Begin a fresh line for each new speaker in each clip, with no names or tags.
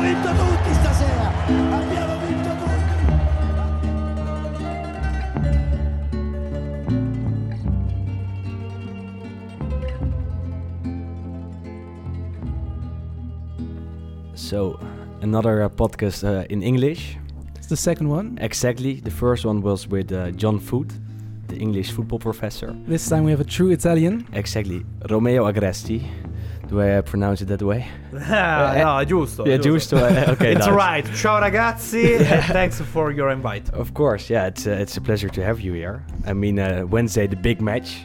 vinto tutti stasera! Abbiamo vinto tutti!
So, another uh, podcast uh, in English.
It's the second one.
Exactly. The first one was with uh, John Foot, the English football professor.
This time we have a true Italian.
Exactly. Romeo Agresti. Do I uh, pronounce it that way?
Ah,
Eh,
no, è giusto.
yeah,
è
giusto. eh, okay.
It's
no,
right. Ciao ragazzi, and thanks for your invite.
Of course, yeah. It's uh, it's a pleasure to have you here. I mean, uh, Wednesday the big match.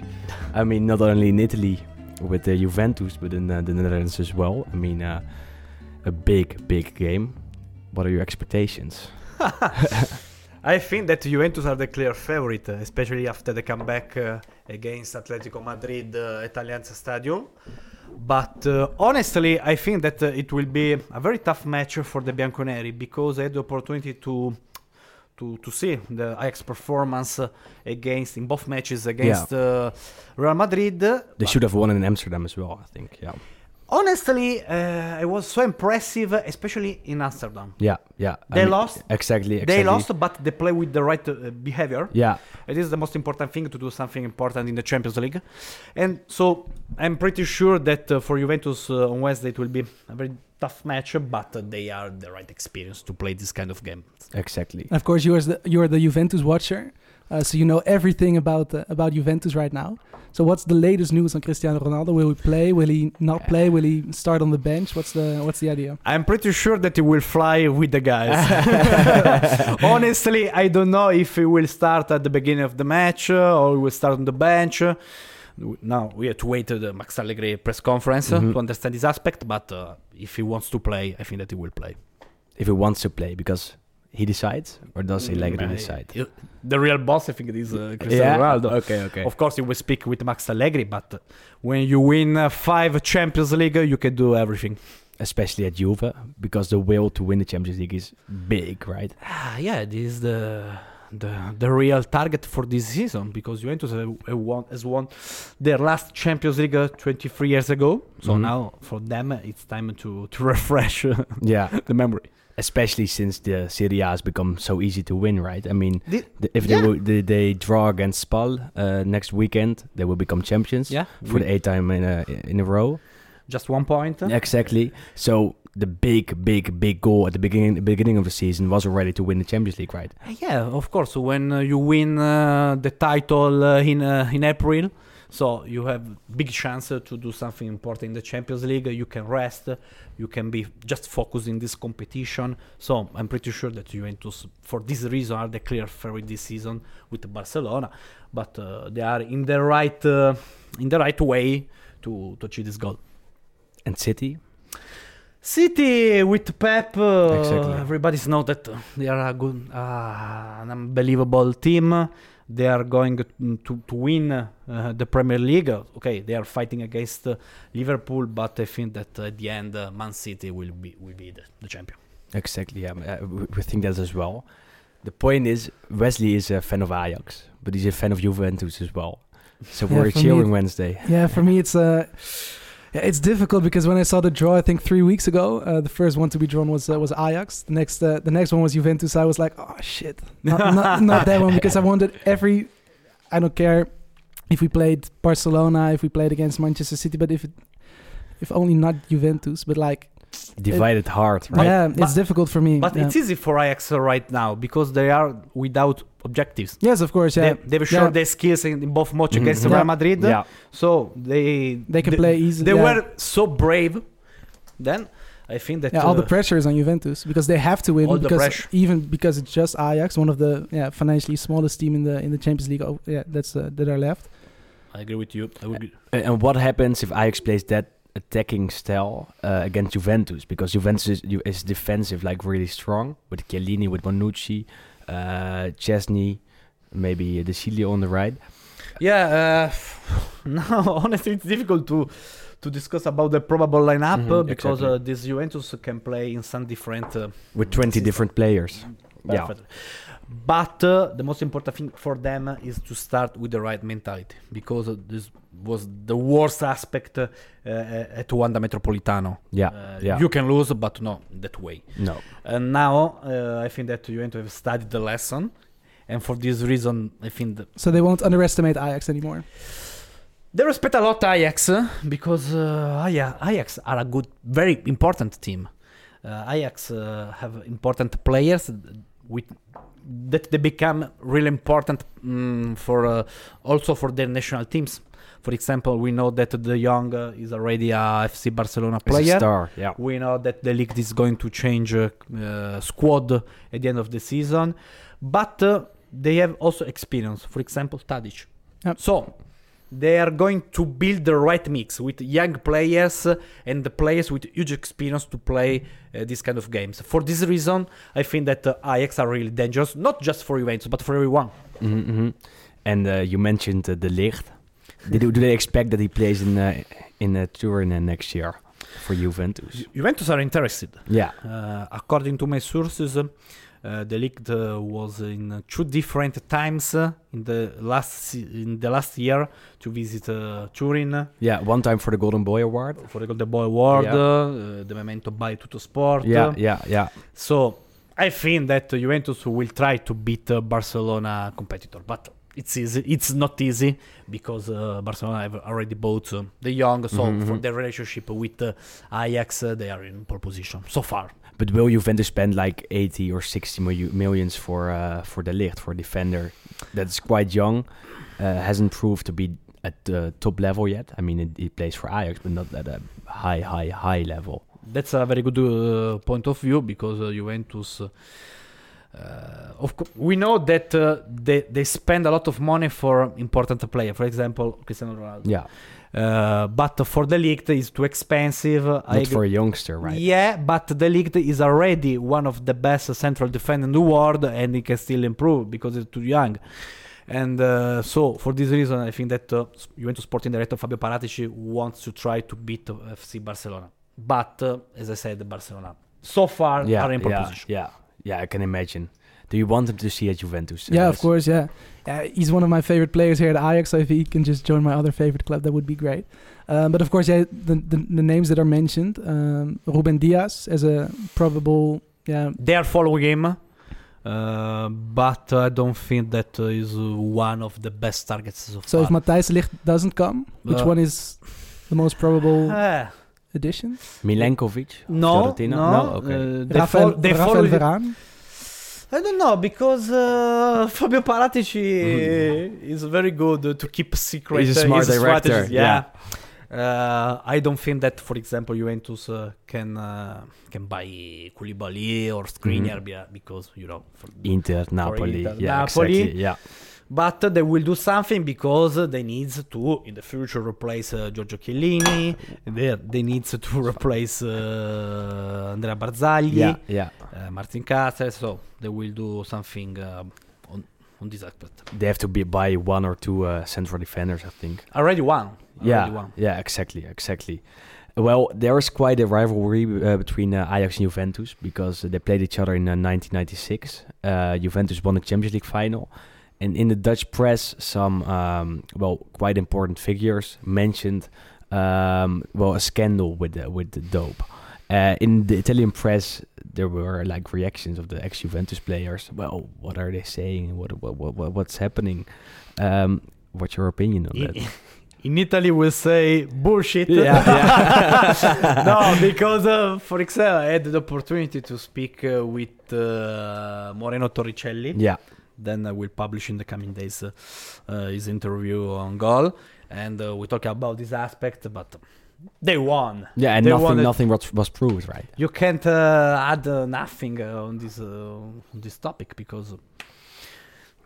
I mean, not only in Italy with the Juventus, but in uh, the Netherlands as well. I mean, uh, a big, big game. What are your expectations?
I think that Juventus are the clear favorite, especially after the comeback uh, against Atletico Madrid uh, at Allianz Stadium. But uh, honestly, I think that uh, it will be a very tough match for the Bianconeri because I had the opportunity to to, to see the Ajax performance uh, against in both matches against uh, Real Madrid.
They should have won in Amsterdam as well, I think. Yeah.
Honestly, uh, it was so impressive, especially in Amsterdam.
Yeah, yeah.
They lost.
Exactly, exactly.
They lost, but they play with the right uh, behavior.
Yeah,
It is the most important thing to do something important in the Champions League. And so I'm pretty sure that uh, for Juventus uh, on Wednesday it will be a very tough match, but uh, they are the right experience to play this kind of game.
exactly.
And of course, you are the, you are the Juventus watcher, uh, so you know everything about uh, about Juventus right now. So what's the latest news on Cristiano Ronaldo? Will he play? Will he not play? Will he start on the bench? What's the what's the idea?
I'm pretty sure that he will fly with the guys. Honestly, I don't know if he will start at the beginning of the match uh, or he will start on the bench. Uh, Now we have to wait to the Max Allegri press conference uh,
Mhm.
to understand this aspect. But uh, if he wants to play, I think that he will play.
If he wants to play, because he decides, or does he like to
Mm, I-
decide?
you- The real boss, I think, it is uh, Cristiano Ronaldo.
Okay, okay.
Of course, he will speak with Max Allegri, but uh, when you win uh, five Champions League, uh, you can do everything.
Especially at Juve, because the will to win the Champions League is big, right?
Ah, yeah, this is the, the the real target for this season because Juventus have, have won, has won their last Champions League uh, 23 years ago. So
Mhm.
now for them, uh, it's time to to refresh uh,
Yeah.
the memory.
Especially since the Serie A has become so easy to win, right? I mean,
The-
the- if
yeah.
they, will, they they draw against Spal uh, next weekend, they will become champions
Yeah,
for the eighth time in a in a row.
just one point.
Exactly. So the big, big, big goal at the beginning beginning of the season was already to win the Champions League, right?
Uh, Yeah, of course. When uh, you win uh, the title uh, in uh, in April, so you have big chance uh, to do something important in the Champions League. You can rest. You can be just focused in this competition. So I'm pretty sure that Juventus, for this reason, are the clear favorite this season with Barcelona. But uh, they are in the right uh, in the right way to to achieve this goal.
And City,
City with Pep, uh,
Exactly.
everybody's know that uh, they are a good, uh, an unbelievable team. They are going mm, to, to win uh, the Premier League. Okay, they are fighting against uh, Liverpool, but I think that uh, at the end, uh, Man City will be will be the, the champion.
exactly. Yeah, uh, we we think that as well. The point is, Wesley is a fan of Ajax, but he's a fan of Juventus as well. So
Yeah,
we're
for me
cheering
it-
Wednesday.
Yeah, for me it's uh, yeah, it's difficult because when I saw the draw, I think three weeks ago, uh, the first one to be drawn was uh, was Ajax. The next uh, the next one was Juventus. I was like, oh shit, not, not, not that one because I wanted every. I don't care if we played Barcelona, if we played against Manchester City, but if it, if only not Juventus, but like
Divided heart, right?
yeah,
but-
it's difficult for me.
But
yeah.
it's easy for Ajax uh, right now because they are without objectives.
yes, of course, yeah.
They, they've shown
Yeah. Mm-hmm.
their skills in, in both matches
Mhm.
against
Yeah.
Real Madrid.
Yeah.
So they
They can play easy-
They
yeah.
were so brave. Then I think that
Yeah, all the
uh,
pressure is on Juventus because they have to win.
all the
because
pressure.
even because it's just Ajax, one of the yeah, financially smallest team in the in the Champions League. Oh, yeah, that's uh, that are left.
I agree with you. I would be-
A- And what happens if Ajax plays that attacking style uh, against Juventus? Because Juventus is, Ju- is defensive, like really strong with Chiellini, with Bonucci, uh, Chesney, maybe De Cilio on the right.
Yeah. Uh, no, honestly, it's difficult to to discuss about the probable lineup
Mhm,
uh, because
exactly.
uh, this Juventus can play in some different. Uh,
with 20
System.
different players.
perfect. But uh, the most important thing for them is to start with the right mentality because uh, this was the worst aspect uh, uh, at Wanda Metropolitano.
Yeah,
Uh,
yeah.
You can lose, but no, that way.
no.
And now uh, I think that Juventus have studied the lesson, and for this reason, I think that
So they won't underestimate Ajax anymore.
they respect a lot Ajax uh, because uh, Aja- Ajax are a good, very important team. Uh, Ajax uh, have important players with that they become really important mm, for uh, also for their national teams. For example, we know that De Jong uh, is already a FC Barcelona
It's a
player.
star. Yeah.
We know that the league is going to change uh, uh, squad at the end of the season, but uh, they have also experience. For example, Tadic.
Yep.
So they are going to build the right mix with young players uh, and the players with huge experience to play uh, this kind of games. For this reason, I think that uh, Ajax are really dangerous, not just for Juventus but for everyone.
Mhm, mhm. And uh, you mentioned uh, De Ligt. Did, do they expect that he plays in uh, in uh, Turin uh, next year for Juventus?
Juventus are interested.
Yeah.
Uh, according to my sources, uh, the league uh, was in two different times uh, in the last se- in the last year to visit uh, Turin uh,
Yeah. One time for the Golden Boy Award.
for the Golden Boy Award,
Yeah.
uh, the Memento by Tutto Sport.
Yeah, yeah, yeah.
So I think that Juventus will try to beat uh, Barcelona competitor, but it's easy. It's not easy because uh, Barcelona have already bought uh, the young. So
Mhm,
for
mhm.
their relationship with uh, Ajax, uh, they are in pole position so far.
But will Juventus spend like 80 or 60 milli- millions for uh, for De Ligt, for a defender that's quite young, uh, hasn't proved to be at the top level yet? I mean, it, it plays for Ajax, but not at a high, high, high level.
That's a very good uh, point of view because uh, Juventus. Uh, uh, of co- we know that uh, they, they spend a lot of money for important player, for example, Cristiano Ronaldo.
Yeah,
Uh, but for the league is too expensive.
not for a youngster, right?
Yeah, but the league is already one of the best central defender in the world, and he can still improve because it's too young. And uh, so, for this reason, I think that uh, Juventus Sporting Director Fabio Paratici wants to try to beat FC Barcelona. But uh, as I said, Barcelona so far
yeah,
are in pole
yeah,
position.
yeah, yeah. I can imagine. Do you want him to see at Juventus?
Yeah,
Uh,
of course. Yeah, uh, he's one of my favorite players here at Ajax. So if he can just join my other favorite club, that would be great. Um, but of course, yeah, the, the, the names that are mentioned, um, Ruben Diaz as a probable, yeah,
They are following him, uh, but I don't think that uh, is uh, one of the best targets so far.
So if Matthijs Licht doesn't come, which
Uh,
one is the most probable
Eh,
addition?
Milenkovic?
no,
Fiorentina?
no,
no. Okay.
uh, they,
Rafael,
fol- they
Rafael
follow the-
Varane?
I don't know because uh, Fabio Paratici is very good uh, to keep secret.
Mm-hmm. He's a
uh,
smart
his
director,
strategies, Uh, I don't think that, for example, Juventus uh, can uh, can buy Koulibaly or
Mm-hmm.
Skriniar be- because you know. For,
Inter, Napoli.
Inter,
yeah,
Napoli.
exactly. Yeah,
but they will do something because they need to in the future replace uh, Giorgio Chiellini. They they need to replace uh, Andrea Barzagli
yeah, yeah.
uh, Martin Cáceres, so they will do something uh, on, on this aspect.
They have to be by one or two uh, central defenders, I think.
Already one.
Yeah,
Already one.
yeah, exactly, exactly. Well, there is quite a rivalry uh, between uh, Ajax and Juventus because they played each other in uh, 1996. Uh, Juventus won the Champions League final, and in the Dutch press, some um, well, quite important figures mentioned um, well a scandal with the, with the dope. Uh, in the Italian press, there were like reactions of the ex-Juventus players. Well, what are they saying? What what, what what- what's happening? Um, what's your opinion on that?
In, in Italy, we say bullshit.
Yeah, yeah.
no, because, uh, for example, I had the opportunity to speak uh, with uh, Moreno Torricelli.
Yeah.
Then I will publish in the coming days uh, uh, his interview on goal. And uh, we talk about this aspect, but they won.
Yeah, and
They
nothing,
wanted-
nothing was, was proved, right?
you can't uh, add uh, nothing uh, on this uh, on this topic because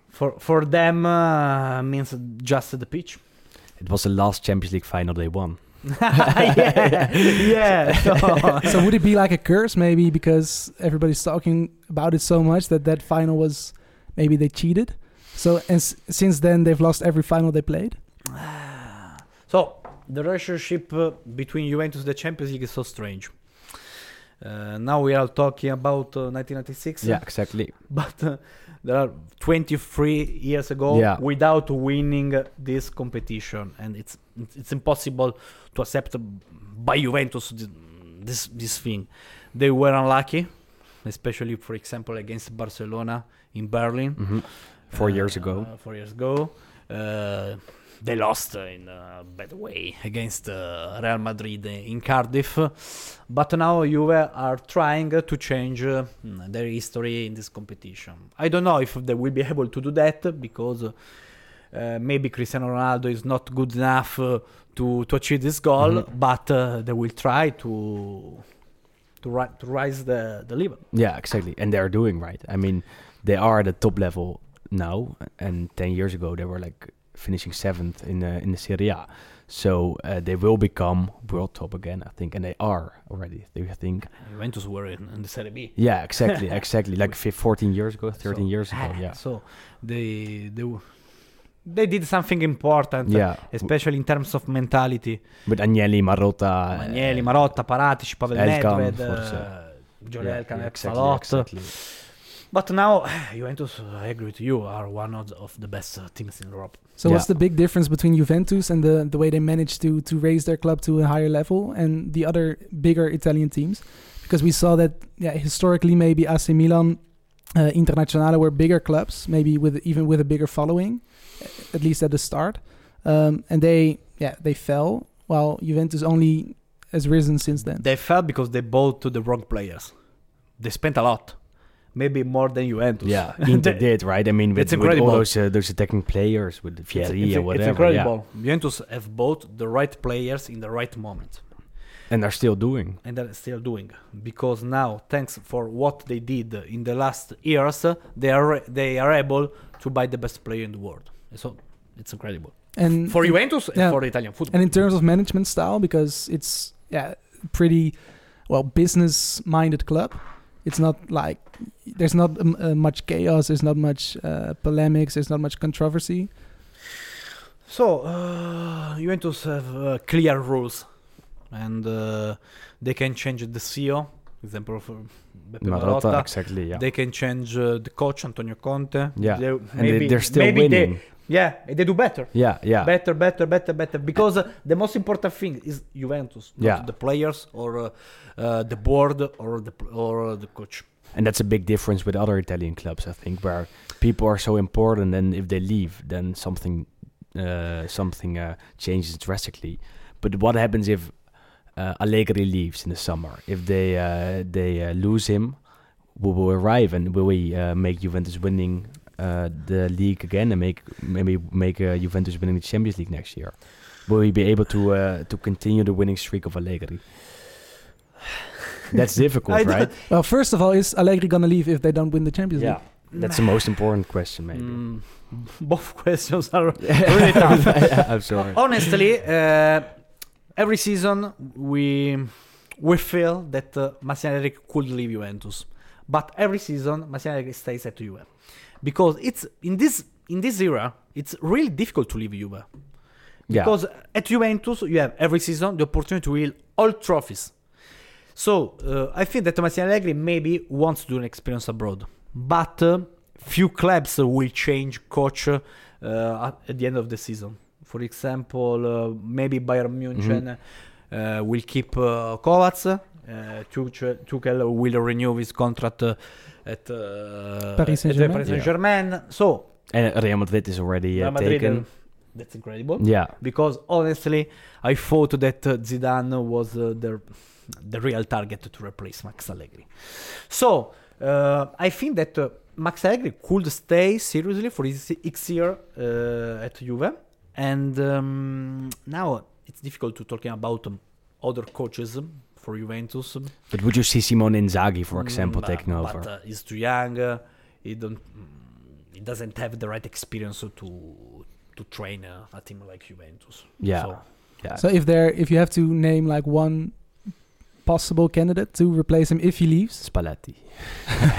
for for them uh, means just the pitch.
It was the last Champions League final they won.
yeah, yeah. so-
so would it be like a curse maybe because everybody's talking about it so much that that final was maybe they cheated? So and s- since then they've lost every final they played.
So the relationship uh, between Juventus and the Champions League is so strange. Uh, Uh, now we are talking about uh, 1996.
Yeah, exactly.
But uh, there are 23 years ago
Yeah.
without winning uh, this competition, and it's it's impossible to accept by Juventus th- this this thing. They were unlucky, especially for example against Barcelona in Berlin
hmm Four
uh,
years ago.
Four years ago, uh, they lost uh, in a bad way against uh, Real Madrid in Cardiff. But now Juve are trying uh, to change uh, mm, their history in this competition. I don't know if they will be able to do that because. uh, uh, maybe Cristiano Ronaldo is not good enough uh, to, to achieve this goal,
Mhm.
but uh, they will try to to, ri- to rise the, the level.
Yeah, exactly. And they're doing right. I mean, they are at the top level now, and ten years ago they were like finishing seventh in the in the Serie A. So uh, they will become world top again, I think, and they are already. I think.
Juventus were in, in the Serie B.
Yeah, exactly, exactly. Like fif- fourteen years ago, thirteen
So- ah,
years ago. Yeah,
So they they w- they did something important,
yeah.
especially in terms of mentality.
With Agnelli, Marotta,
Magnelli,
uh,
Marotta, Paratici, Pavel
Elkan,
Nedved,
forse.
uh, John
yeah,
Elkan,
yeah,
Palot.
exactly.
But now Juventus, I agree with you, are one of the, of the best uh, teams in Europe.
So what's
Yeah.
the big difference between Juventus and the, the way they managed to to raise their club to a higher level and the other bigger Italian teams? Because we saw that yeah, historically maybe AC Milan, uh, Internazionale were bigger clubs, maybe with even with a bigger following, a- at least at the start, um, and they yeah they fell while Juventus only has risen since then.
They fell because they bought to the wrong players. They spent a lot, maybe more than Juventus.
Yeah, Inter did right. I mean, with,
It's
with all
incredible.
those uh, those attacking players, with
It's,
Fieri
it's-
and whatever.
it's
Yeah.
incredible. Juventus have bought the right players in the right moment.
And they're still doing.
and they're still doing because now thanks for what they did in the last years they are they are able to buy the best player in the world so it's incredible
And
for Juventus
yeah.
and for Italian football
And in terms of management style, because it's yeah, pretty well business-minded club. It's not like there's not um, uh, much chaos. There's not much uh, polemics. There's not much controversy.
so uh, Juventus have uh, clear rules and uh, they can change the CEO example for Beppe
Marotta,
Marotta.
exactly. Yeah.
They can change uh, the coach Antonio Conte.
Yeah.
they,
and they, they're still
maybe they-
winning.
yeah, they do better.
yeah, yeah.
better, better, better, better. Because uh, the most important thing is Juventus, not
Yeah.
the players or uh, uh, the board or the pl- or uh, the coach.
And that's a big difference with other Italian clubs, I think, where people are so important, and if they leave, then something uh, something uh, changes drastically. But what happens if uh, Allegri leaves in the summer? If they uh, they uh, lose him, will we arrive and will we uh, make Juventus winning uh, the league again and make maybe make uh, Juventus winning the Champions League next year? Will we be able to uh, to continue the winning streak of Allegri? That's difficult,
I don't-
right?
Well, first of all, is Allegri gonna leave if they don't win the Champions League?
That's the most important question, maybe.
Mm, both questions are really tough.
I'm sorry.
Honestly, uh, every season we we feel that uh, Massimiliano could leave Juventus, but every season Massimiliano stays at Juve because it's in this in this era it's really difficult to leave Juve.
Yeah.
Because at Juventus, you have every season the opportunity to win all trophies. So uh, I think that Massimo Allegri maybe wants to do an experience abroad, but uh, few clubs will change coach uh, at, at the end of the season. For example, uh, maybe Bayern Munich
Mm-hmm.
uh, will keep uh, Kovac. Uh, Tuchel, Tuchel will renew his contract uh, at, uh,
Paris
at the
Saint-Germain?
Paris
Yeah.
Saint-Germain. So
And Real Madrid is already uh,
Real Madrid,
taken.
that's incredible
Yeah.
because honestly, I thought that uh, Zidane was uh, the the real target to replace Max Allegri. So uh, I think that uh, Max Allegri could stay seriously for his X year uh, at Juve, and um, now it's difficult to talking about um, other coaches um, for Juventus. um,
But would you see Simone Inzaghi, for example,
Mm, but-
taking over?
But uh, he's too young. Uh, he don't. mm, He doesn't have the right experience to to train uh, a team like Juventus.
yeah.
So,
yeah.
So if there, if you have to name like one possible candidate to replace him if he leaves,
Spalletti.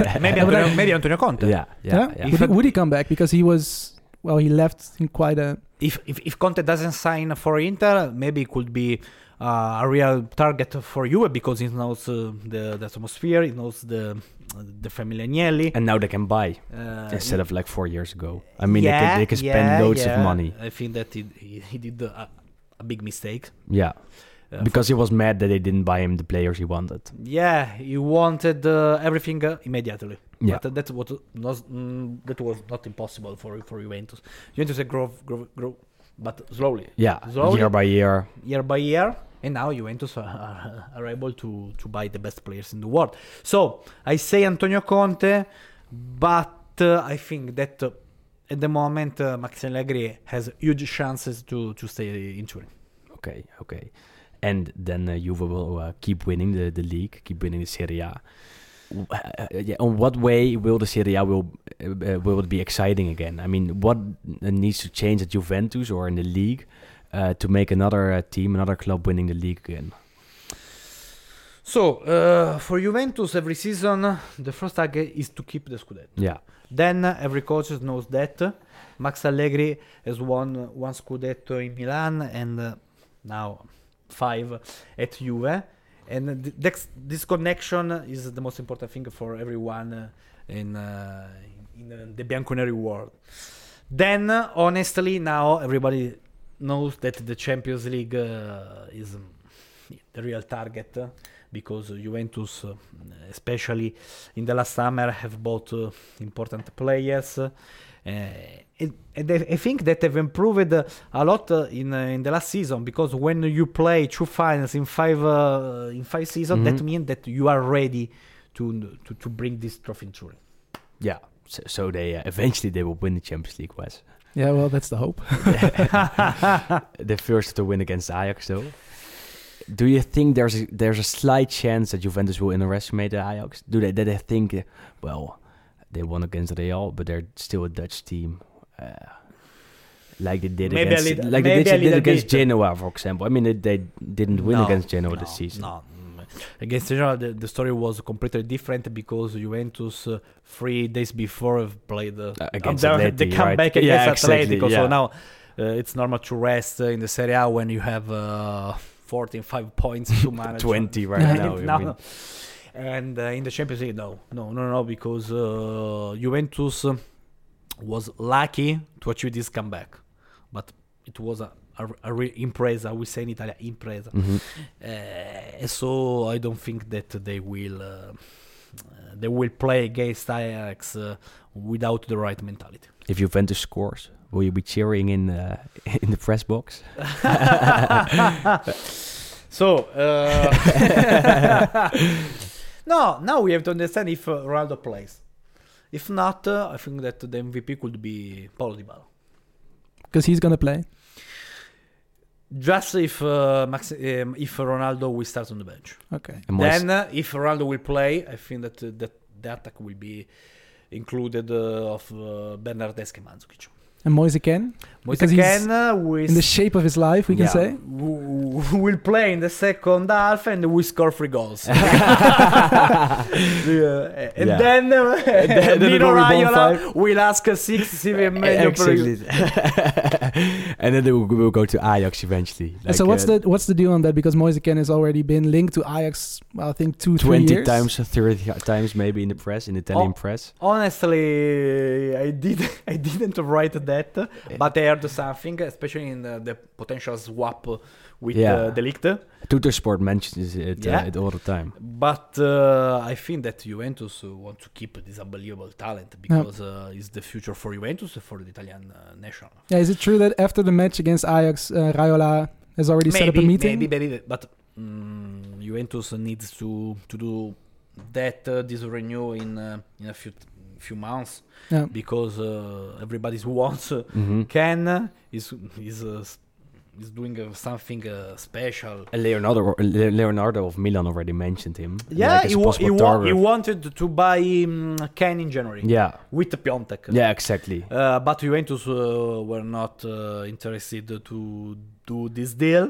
Eh,
maybe,
Yeah, but
Antonio,
I-
maybe Antonio Conte.
Yeah. Yeah. yeah.
Would, he- would he come back because he was well, he left in quite a
if, if if Conte doesn't sign for Inter, maybe it could be uh, a real target for Juve because he knows uh, the, the atmosphere, he knows the the family Agnelli.
And now they can buy
Uh,
instead of like four years ago. I mean, they
yeah,
can, they can spend
yeah,
loads
yeah.
of money.
I think that he he, he did a, a big mistake.
Yeah,
Uh,
because he was mad that they didn't buy him the players he wanted.
Yeah, he wanted uh, everything uh, immediately.
Yeah.
But that was not mm, that was not impossible for for Juventus. Juventus had grow, grow, grow, but slowly,
Yeah,
Slowly.
year by year.
year by year, and now Juventus are- are, are able to to buy the best players in the world. So I say Antonio Conte, but uh, I think that uh, at the moment uh, Max Allegri has huge chances to to stay in Turin.
Okay, okay. And then uh, Juve will uh, keep winning the, the league, keep winning the Serie A. W- uh, yeah, on what way will the Serie A will uh, uh, will it be exciting again? I mean, what uh, needs to change at Juventus or in the league uh, to make another uh, team, another club winning the league again?
So uh, for Juventus, every season the first target is to keep the Scudetto.
Yeah,
Then uh, every coach knows that. Max Allegri has won uh, one scudetto in Milan and uh, now five at Juve. And th- this, this connection is the most important thing for everyone uh, in, uh, in uh, the Bianconeri world. Then, uh, honestly, now everybody knows that the Champions League uh, is um, the real target uh, because Juventus, uh, especially in the last summer, have bought uh, important players. uh, and, and I I think that they've improved uh, a lot uh, in uh, in the last season because when you play two finals in five uh, in five seasons, that
Mhm.
means that you are ready to to, to bring this trophy in Turin.
yeah. So, so they uh, eventually they will win the Champions League. Was
Yeah, well, that's the hope.
the first to win against Ajax though. Do you think there's a, there's a slight chance that Juventus will underestimate the Ajax? Do they do they think uh, well they won against Real but they're still a Dutch team uh, like they did
Maybe a
against
little-
like
maybe
they
a
did, did
little
against
bit.
Genoa for example. I mean they, they didn't win
No,
against Genoa
no,
this season.
No. Mm. Against Genoa, the, the story was completely different because Juventus uh, three days before have played uh,
Uh, against
um, the- the
Atleti,
comeback
right?
against
Yeah, exactly,
Atletico. So
yeah.
now uh, it's normal to rest uh, in the Serie A when you have uh, 14, 5 points to manage.
20 right
Right
now. you
now.
mean.
And uh, in the Champions League, no, no, no, no, because uh, Juventus uh, was lucky to achieve this comeback, but it was a, a, a real impresa. We say in Italy, impresa.
Mhm.
Uh, so I don't think that they will uh, uh, they will play against Ajax uh, without the right mentality.
If Juventus scores, will you be cheering in uh, in the press box?
so uh, no, now we have to understand if uh, Ronaldo plays. If not, uh, I think that the MVP could be Paulo Dybala.
Because he's going to play.
Just if uh, Max, um, if Ronaldo will start on the bench.
Okay.
And Moyes-
Then, uh, if Ronaldo will play, I think that uh, that the attack will be included uh, of uh, Bernardeschi and Mandzukic.
And Moise again, Because he's
Moise Kean, uh, who is-
in the shape of his life, we can
Yeah.
say.
who- who will play in the second half and will score three goals. Yeah, And
Yeah.
then, uh,
then it
Mino
will be
Raiola
bonfire. Eh,
will ask six, seven million per
Exactly. and then they will, will go to Ajax eventually.
And so
Like,
what's
uh,
the what's the deal on that? Because Moise Kean has already been linked to Ajax, well, I think two, three
20
years.
times, 30 times maybe in the press, in the Italian
Oh.
press.
Honestly, I did I didn't write that, but I heard something, especially in the, the potential swap with
Yeah.
uh, Delict.
Tuttersport mentions it,
Yeah.
uh, it all the time.
But uh, I think that Juventus uh, want to keep this unbelievable talent because uh, it's the future for Juventus for the Italian uh, national.
Yeah, is it true that after the match against Ajax, uh, Raiola has already set up a meeting?
maybe, maybe, but mm, Juventus needs to to do that uh, this renew in uh, in a few few months
Yeah.
because uh, everybody wants uh,
Mhm.
Ken is is uh, s- is doing uh, something uh, special.
And Leonardo, uh, Le- Leonardo of Milan already mentioned him.
Yeah,
like as
he,
a
wa-
possible
he, wa- he
target.
wanted to buy um, Ken in January
yeah,
with Piontek.
yeah, exactly.
Uh, but Juventus uh, were not uh, interested to do this deal,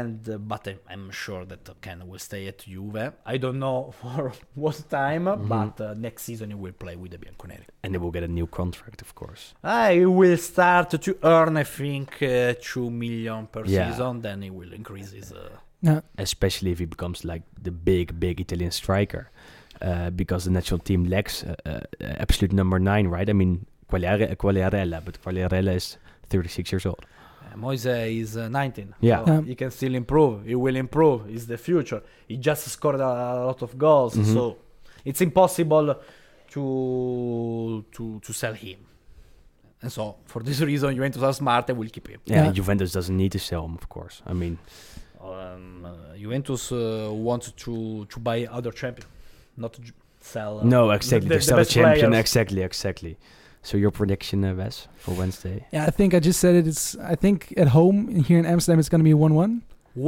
And uh, but I, I'm sure that Ken will stay at Juve. I don't know for what time, but uh, next season he will play with the Bianconeri.
And they will get a new contract, of course.
Ah, he will start to earn, I think, uh, two million per
Yeah.
season. Then he will increase his. Uh,
especially if he becomes like the big, big Italian striker, uh, because the national team lacks uh, uh, absolute number nine, right? I mean, Quagliare- Quagliarella, but Quagliarella is 36 years old.
Uh, Moise is uh, 19.
Yeah.
so
Um,
he can still improve. He will improve. He's the future. He just scored a, a lot of goals,
Mhm.
so it's impossible to to to sell him. And so for this reason, Juventus are smart and will keep him.
Yeah,
Yeah.
Juventus doesn't need to sell him, of course. I mean,
Um, uh, Juventus uh, wants to to buy other champion, not to ju- sell. uh,
no, exactly.
the-
They're
the
still a
best
champion.
players.
Exactly, exactly. So your prediction, uh, Wes, for Wednesday?
Yeah, I think I just said it. It's I think at home here in Amsterdam it's gonna be 1-1,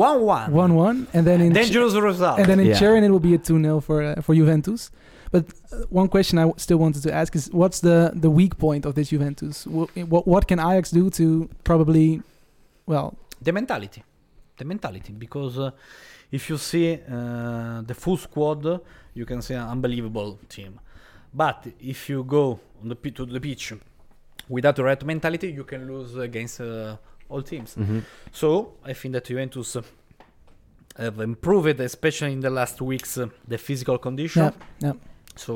One one.
1-1, and then in
Dangerous result.
and then in
Yeah.
Turin it will be a 2-0 for uh, for Juventus. But uh, one question I w- still wanted to ask is what's the the weak point of this Juventus? What what can Ajax do to probably well,
the mentality the mentality because uh, if you see uh, the full squad you can see an unbelievable team but if you go on the pi- to the pitch without the right mentality you can lose against uh, all teams
Mm-hmm.
so i think that juventus uh, have improved especially in the last weeks uh, the physical condition
yeah.
so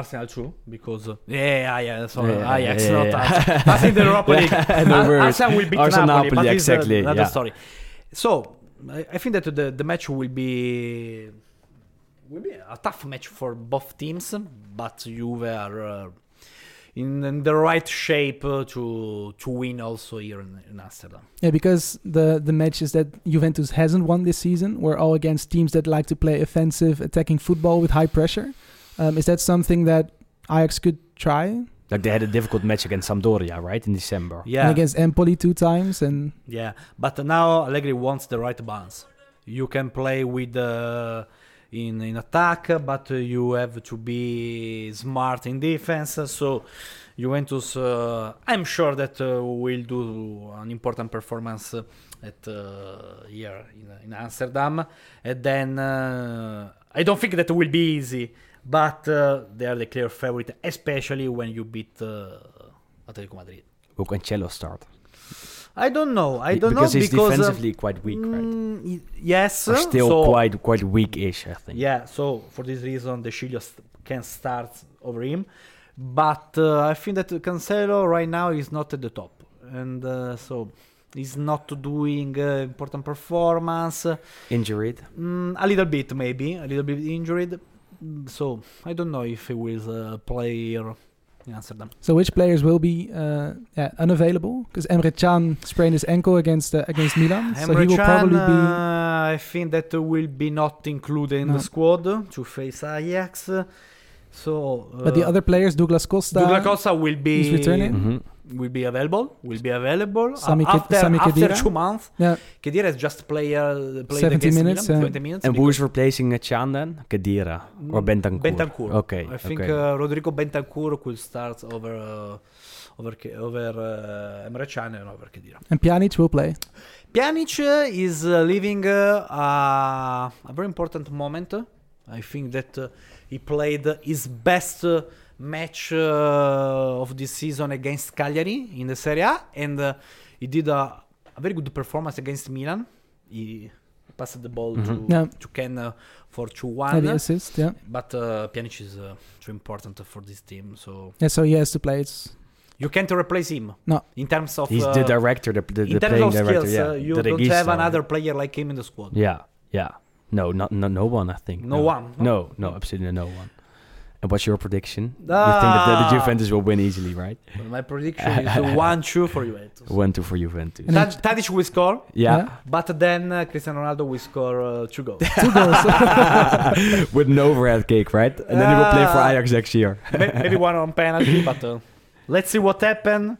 Arsenal too, because uh, yeah, yeah, yeah, sorry,
Yeah,
Ajax,
yeah,
not
yeah.
Arsenal. That's in the Europa League.
No
Ar-
worries.
Arsenal will beat
Arsenal,
Napoli, but
Napoli,
it's, uh,
exactly,
another
yeah.
story. So I, I think that the, the match will be will be a tough match for both teams, but Juve are uh, in, in the right shape uh, to to win also here in, in Amsterdam.
Yeah, because the the matches that Juventus hasn't won this season were all against teams that like to play offensive, attacking football with high pressure. Um, is that something that Ajax could try?
Like they had a difficult match against Sampdoria, right, in December.
Yeah,
And against Empoli two times, and
Yeah, but now Allegri wants the right balance. You can play with uh, in in attack, but uh, you have to be smart in defense. So Juventus, uh, I'm sure that uh, will do an important performance uh, at uh, here in, in Amsterdam. And then uh, I don't think that will be easy, but uh, they are the clear favorite, especially when you beat uh, Atletico Madrid.
Will Cancelo start?
I don't know. I don't
because
know
he's
because uh,
defensively quite weak, right?
Mm, y- yes.
Or still
so,
quite quite weak-ish, I think.
Yeah. So for this reason, the Chilio st- can start over him, but uh, I think that Cancelo right now is not at the top, and uh, so he's not doing uh, important performance.
Injured.
Mm, a little bit maybe, a little bit injured. Mm, So I don't know if he will uh, play here in Amsterdam.
so which players will be uh, yeah, unavailable? Because Emre Can sprained his ankle against uh, against Milan, so he
Emre
will
Can,
probably be.
uh, I think that will be not included in
No.
the squad to face Ajax. So, uh,
But the other players, Douglas Costa,
Douglas Costa will
is returning.
be
hmm
will be available. Will be available
Sami
Uh,
Khedira-
after,
Sami
after
Khedira?
two months.
Yeah.
Kedira is just player uh, played
70
against
minutes,
Milan,
uh,
20 minutes.
And
because-
who's replacing uh, Chan then? Kadira or
Mm,
Bentancur?
Bentancur.
Okay.
I think
okay.
uh, Rodrigo Bentancur could start over uh, over Ke- over uh, Emre Can and over Kedira.
and Pjanic will play.
Pjanic uh, is uh, living uh, a, a very important moment. I think that uh, he played his best uh, match uh, of this season against Cagliari in the Serie A, and uh, he did a, a very good performance against Milan. He passed the ball
Mhm.
to,
Yeah.
to Ken uh, for
Heavy
2-1.
assist, yeah.
But uh, Pjanic is uh, too important for this team, so
Yeah, so he has to play. It's
you can't replace him.
No.
in terms of
He's
uh,
the director, the, the, the
in terms
playing
of
director.
skills,
yeah,
uh, you
the
don't
regista,
have
right?
another player like him in the squad.
Yeah, yeah. No, not no, no one. I think.
No one,
No, no, absolutely no one. And what's your prediction? You think that the, the
Ah.
Juventus will win easily, right?
Well, my prediction is one two for Juventus.
One two for Juventus.
And-
Tad- Tadic will score,
yeah,
but then uh, Cristiano Ronaldo will score uh, two goals.
two goals.
with an overhead kick, right? And then he will play for
Ah.
Ajax next year.
May- Maybe one on penalty, but uh, let's see what happens.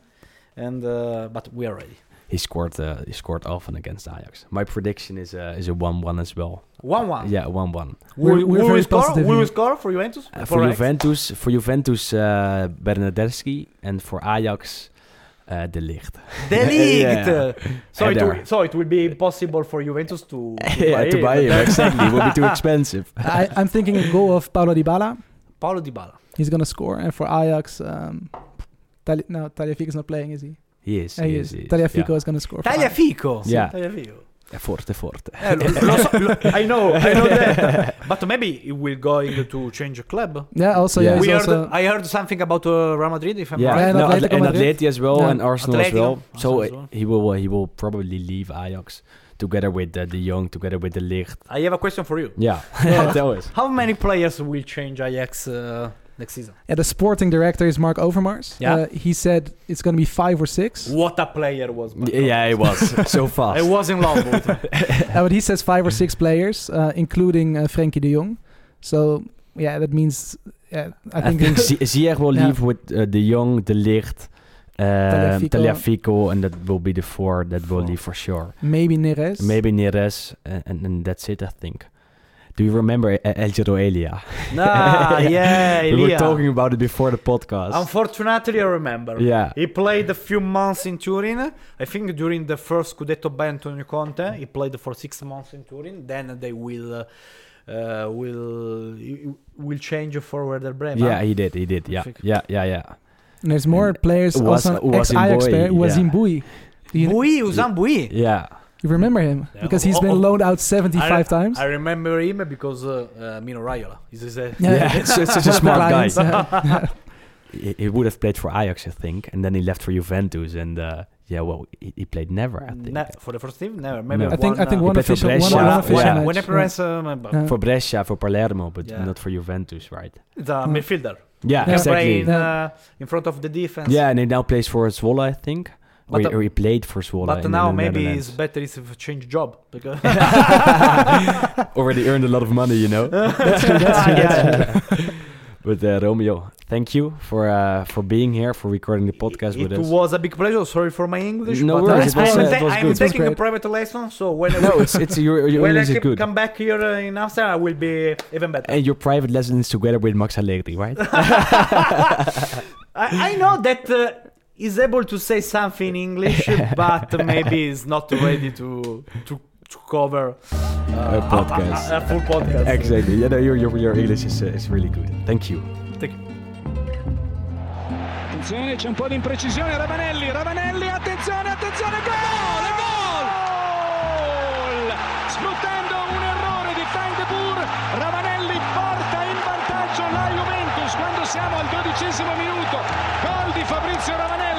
And uh, but we are ready.
He scored. Uh, he scored often against Ajax. My prediction is uh, is a one one as well.
One one.
Yeah, one one.
We're-
Who-
we're
who
very
will score?
positive
Who will
here.
score for Juventus?
Uh, for
Ajax?
eh, Juventus, for Juventus, uh, Bernadeschi, and for Ajax, Uh, De Ligt.
The league. uh,
Yeah.
So it,
Header.
will, so it will be impossible for Juventus to, to
yeah,
buy
to buy
him.
him exactly. It would be too expensive.
I, I'm thinking a goal of Paulo Dybala.
Paulo Dybala.
He's gonna score, and for Ajax, um, Tali- no, Taliafico's not playing, is he?
Yes,
Eh, he
yes,
is.
yes.
Taliafico is gonna score. for Ajax.
Tagliafico.
Yeah.
Tagliafico.
Yeah. Forte, forte.
Eh, lo- lo so- lo- I know, I know that. But maybe he will going to change club.
Yeah, also,
Yeah.
yeah,
We
he's
heard,
also.
I heard something about uh, Real Madrid, if I'm
Yeah,
right.
and
no, Atl-
Atletico
uh,
and
Madrid.
Atletico Nou, as well,
Yeah.
and Arsenal as
Atletico. Ah,
well. So
Arsenal as
uh,
well.
he will uh, he will probably leave Ajax together with uh, De Jong, together with De Ligt.
I have a question for you.
Yeah, tell us.
How many players will change Ajax uh, next season?
Yeah, the sporting director is Mark Overmars.
Yeah.
Uh, he said it's gonna be five or six.
What a player was Marco.
Yeah, it was so
I
fast.
was in love with him.
Uh, but he says five or six players, uh, including uh, Frankie de Jong. So yeah, that means yeah, I
I
think,
think Z- Ziyech will
Yeah.
leave with uh, De Jong, De Ligt, um,
Tagliafico.
Tagliafico, and that will be the four that will
Four.
leave for sure.
maybe Neres.
Maybe Neres, uh, and, and that's it. I think. Do you remember uh, El Giro Elia?
nah, yeah,
we were
Elia.
talking about it before the podcast.
Unfortunately, I remember.
yeah,
He played a few months in Turin. I think during the first Scudetto by Antonio Conte, he played for six months in Turin. Then they will uh, uh, will will change for Werder Bremen.
yeah, he did, he did. Yeah,
Perfect.
yeah, yeah, yeah.
And there's more
And
players.
Was-
also, an
was
ex Ajax
Mboui,
player was
yeah.
Mboui. Do you,
Bui, Usain Bui.
Yeah,
you remember him
Yeah.
because he's
Oh, oh.
been loaned out 75
I,
times.
I remember him because uh, uh, Mino Raiola. He's, he's a,
Yeah.
yeah. it's, it's such a
One of the
smart guy.
Lions, yeah.
He, he would have played for Ajax, I think, and then he left for Juventus, and uh, yeah, well, he, he played never, I think.
ne- for the first team, never. Maybe
No.
I think
one,
I think
uh,
one
played for
official, one,
Brescia.
one
Yeah.
official
Yeah.
match.
One appearance, um, but
Yeah.
for Brescia, for Palermo, but
Yeah.
not for Juventus, right?
it's a midfielder.
Yeah,
He can play in,
exactly.
uh, in front of the defense.
Yeah, and he now plays for Zwolle, I think. Or
But,
he,
uh,
or he played for Zwolle.
But
in
now
the
maybe it's
Netherlands.
better if you change job because
already earned a lot of money, you know.
Yeah.
But uh, Romeo, thank you for uh, for being here, for recording the podcast
it
with us.
was a big pleasure. Sorry for my English.
No
but
worries,
it was,
I'm,
uh,
ta-
it was
I'm
good. It
was
taking a
great.
private lesson, so when I,
no, it's it's your your
when I
English is
keep-
good.
come back here uh, in Amsterdam, I will be even better.
And your private lessons together with Max Allegri, right?
I, I know that uh, he's able to say something in English, but maybe he's not ready to to, to cover uh,
A podcast.
a, a- a full podcast.
exactly. Yeah, no, your, your your English is uh, is really good. Thank you.
Thank you.
Attenzione, c'è un po' di imprecisione. Ravanelli, Ravanelli, attenzione, attenzione, gol! Gol! Sfruttando un errore di Frank de Boer, Ravanelli porta in vantaggio la Juventus quando siamo al dodicesimo minuto. Gol di Fabrizio Ravanelli.